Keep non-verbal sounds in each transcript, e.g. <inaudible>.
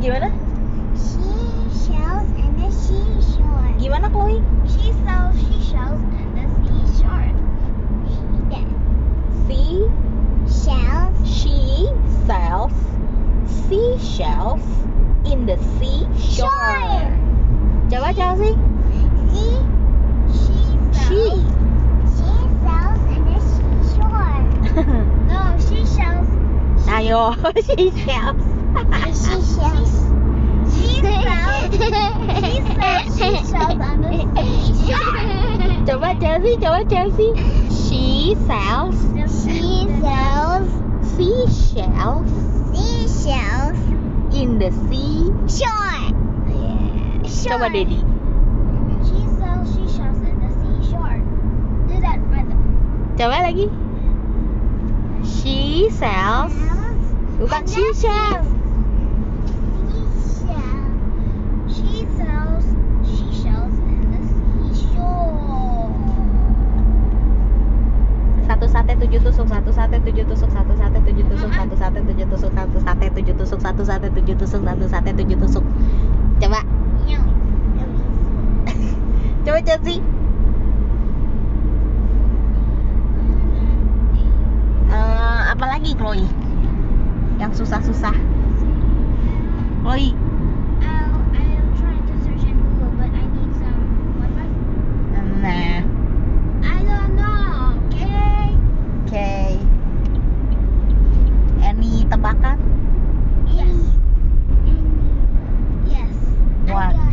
Gimana? Seashells and the seashore. Gimana Chloe? She sells seashells and the seashore. The She shells she sells seashells in the seashore. Coba Chelsea. See, she sells. She. <laughs> She sells and the seashore. No, she sells. Ayo, <laughs> she sells. seashells. She sells. She sells seashells on the seashore. coba Chelsea, coba Chelsea. She sells She sells seashells seashells. in the sea. Sure. Yeah. Sure. Coba Dedi. She sells seashells in the seashore. Do that for the Coba lagi. She sells bukan she sells. She sells seashells in the seashore. satu sate tujuh tusuk satu sate tujuh tusuk satu sate tujuh tusuk satu sate tujuh tusuk satu sate tujuh tusuk satu sate tujuh tusuk satu sate tujuh tusuk coba No. Mm, coba Chelsea Eh, apa lagi Chloe yang susah-susah Chloe I'll, I'll try to search in Google, but I need some Wi-Fi. nah I don't know. Okay. oke any tebakan Yes. And yes. What? I got um,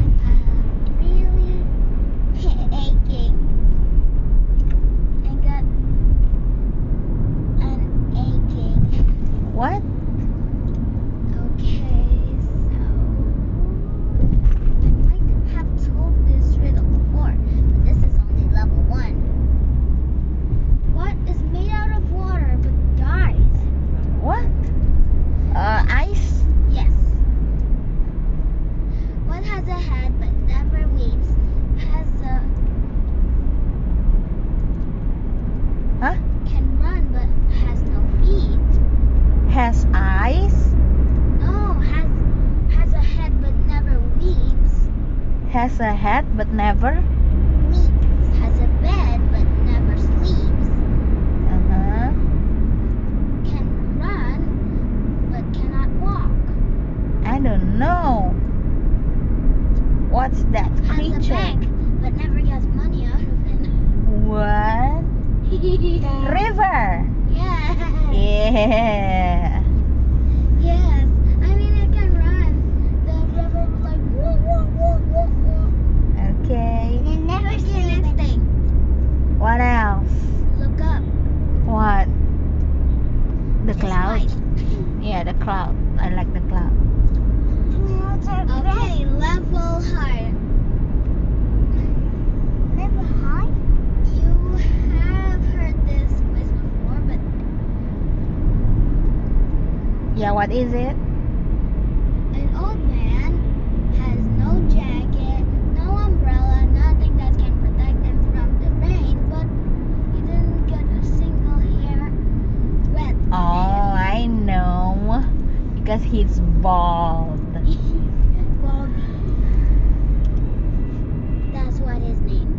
really aching. I got an aching. what Okay, so I might have told this riddle before, but this is only level one. What is made out of water but dies? what Eh, ice Yes. What has a head but never weeps? Has a. Huh? Can run but has no feet. has eyes No, has has a head but never weeps. has a head but never Weeps. Has a bed but never sleeps. Uh-huh. Can run but cannot walk. I don't know. What's that Has a creature? bank but never gets money out <laughs> of What? it. River. yeah. Yeah. Yes, I mean it can run. The river like woo woo woo woo woo. Okay. And it never see the next thing. What else? Look up. What? The It's cloud. white. Yeah, the cloud. I like the cloud. Okay, level high. Level high? You have heard this quiz before, but Yeah, what is it? an old man has no jacket, no umbrella, nothing that can protect him from the rain, but he didn't get a single hair wet. Oh, I know. Because he's bald. <laughs> Baldy. That's what his name.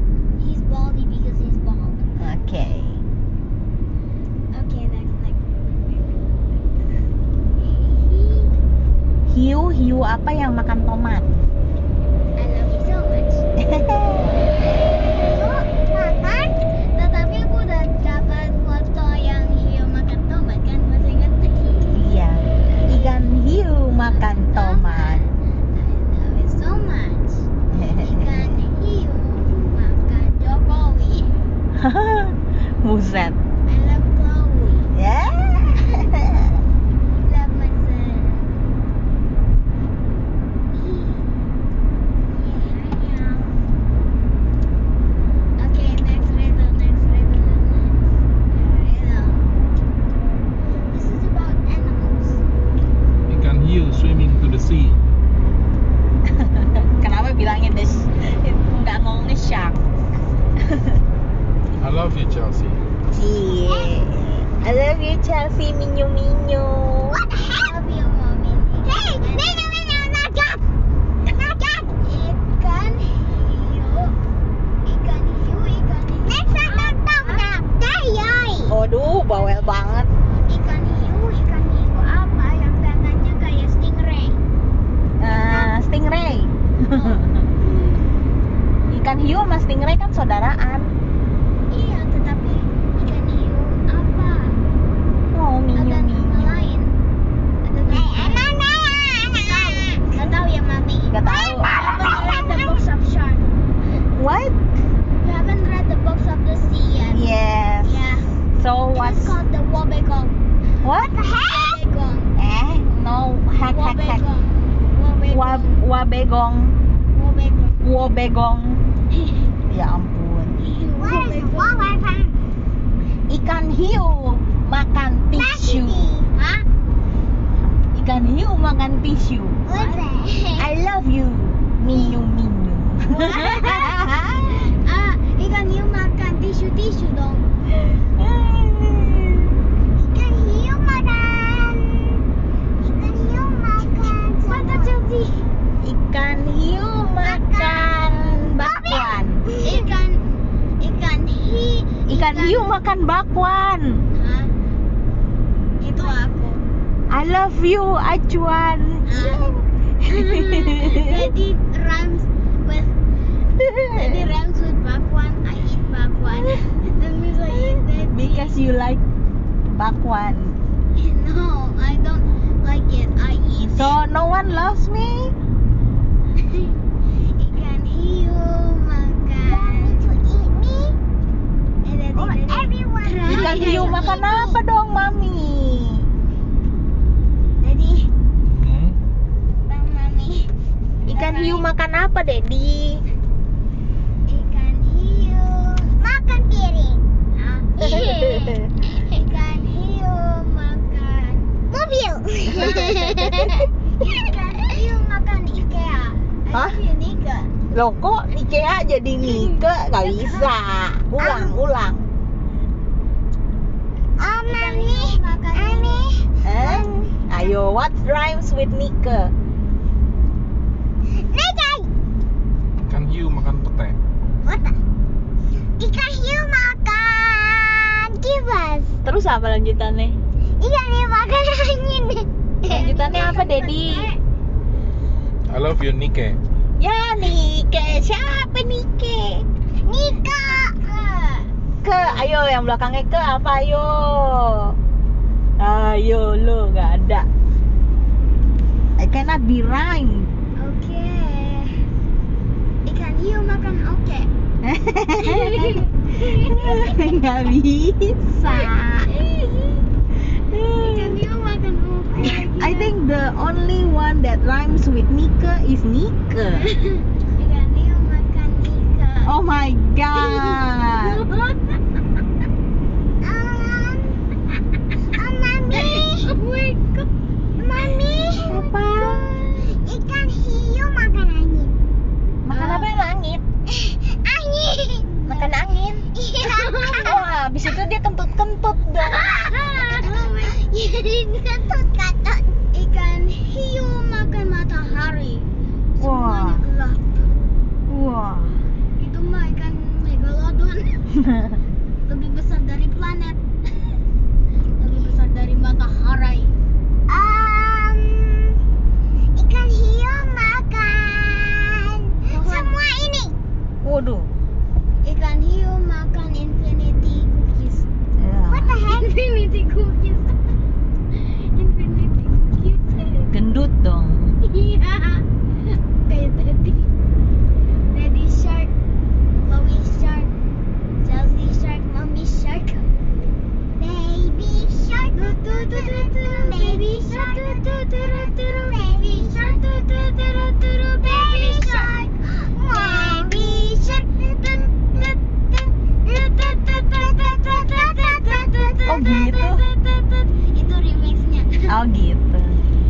He's Baldy because he's bald. Okay. Okay, next, next. He, Hiu, hiu apa yang makan tomat? <laughs> <laughs> I love you so much. Yuk, makan. Tetapi aku udah dapat foto yang hiu makan tomat kan masih inget. Iya. Ikan hiu makan tomat. <laughs> I love it so much. Ikan hiu makan Jokowi. Buset. I love Chloe. Ya. <laughs> Love my son. Yeah, I am. Okay, next riddle, next riddle, next riddle. This is about animals. Ikan hiu swimming to the sea. Kenapa bilangnya the sh- nggak ngomongnya <laughs> shark? I love you, Chelsea. Cie. I love you Chelsea minyu minyu. What the heck? Love you, mommy. Eh, <laughs> kan Iya, ya, Eh? hack, hack, hack. Wa- Wabegong. Wabegong. Wabegong. Wabegong. Ya ampun. What is a wabegong? Ikan hiu makan tisu. Huh? Ikan hiu makan tisu. What's that? I love you. Minyu minyu. Ah, ikan hiu makan tisu tisu dong. Ikan hiu makan. Ikan hiu makan. Mata Chelsea. Ikan hiu makan bakwan. Ikan ikan hi. Ikan hiu makan bakwan. Hah? Itu aku. I love you, acuan. Ah. Jadi rhymes with jadi rhymes with bakwan. I eat bakwan. That means I eat that. <laughs> Because you like bakwan. No, I don't like it. I eat So no one loves me. Ikan hiu makan. to eat me? And then or Oh, everyone. Ikan hiu makan apa dong, mami? Jadi, Hmm? bang mami. Ikan hiu makan apa, Dedi? Ikan hiu makan piring. <laughs> Ikan hiu makan mobil. <laughs> Ikan hiu makan IKEA. Hah? Itu Unika. Loh kok Ikea jadi Nike? Gak bisa. Ulang, ulang. Oh, mami, mami. Eh? Ayo, what rhymes with Nike? Negai. Ikan hiu makan petai. Otak. Ikan hiu makan kibas. Terus apa lanjutannya? Ikan hiu makan <laughs> angin. Lanjutannya apa, Dedi? I love you, Nike. Ya Nike, siapa Nike? Nika. Ke, ayo yang belakangnya ke apa ayo? Ayo lo nggak ada. I cannot be <laughs> rhyme. Oke. Ikan hiu makan oke. Nggak bisa. Ikan hiu makan oke. I think the only one that rhymes with Nika is Nika. Ikan hiu makan Nika. Oh my god. Um, oh, mami. Mami. Apa? Ikan hiu makan angin. Makan apa langit? Angin. Makan angin. Iya. Oh, habis itu dia kentut-kentut dong. Jadi kentut katot. Ikan hiu makan matahari. Semuanya Wah. gelap. Wah. Itu mah ikan megalodon. <laughs> Lebih besar dari planet. <laughs> Lebih besar dari matahari. Um, ikan hiu makan semua ini. Waduh. Ikan hiu makan infinity cookies. Ya, What the heck? <laughs> Infinity cookies. <laughs> Infinity cookies. Gendut dong. Iya. Kayak tadi. Daddy shark, Chloe shark, Chelsea shark, mommy shark. Baby shark. Tu tu tu tu tu. Baby shark. Tu tu tu tu tu. Baby shark. Tu tu tu tu tu. Baby shark. Baby shark. Tut, tut, tut. Tut, tut, tut, tut, tut, tut, tut, tut, tut, Oh, gitu? tut, tut, tut. Itu remixnya. Oh gitu.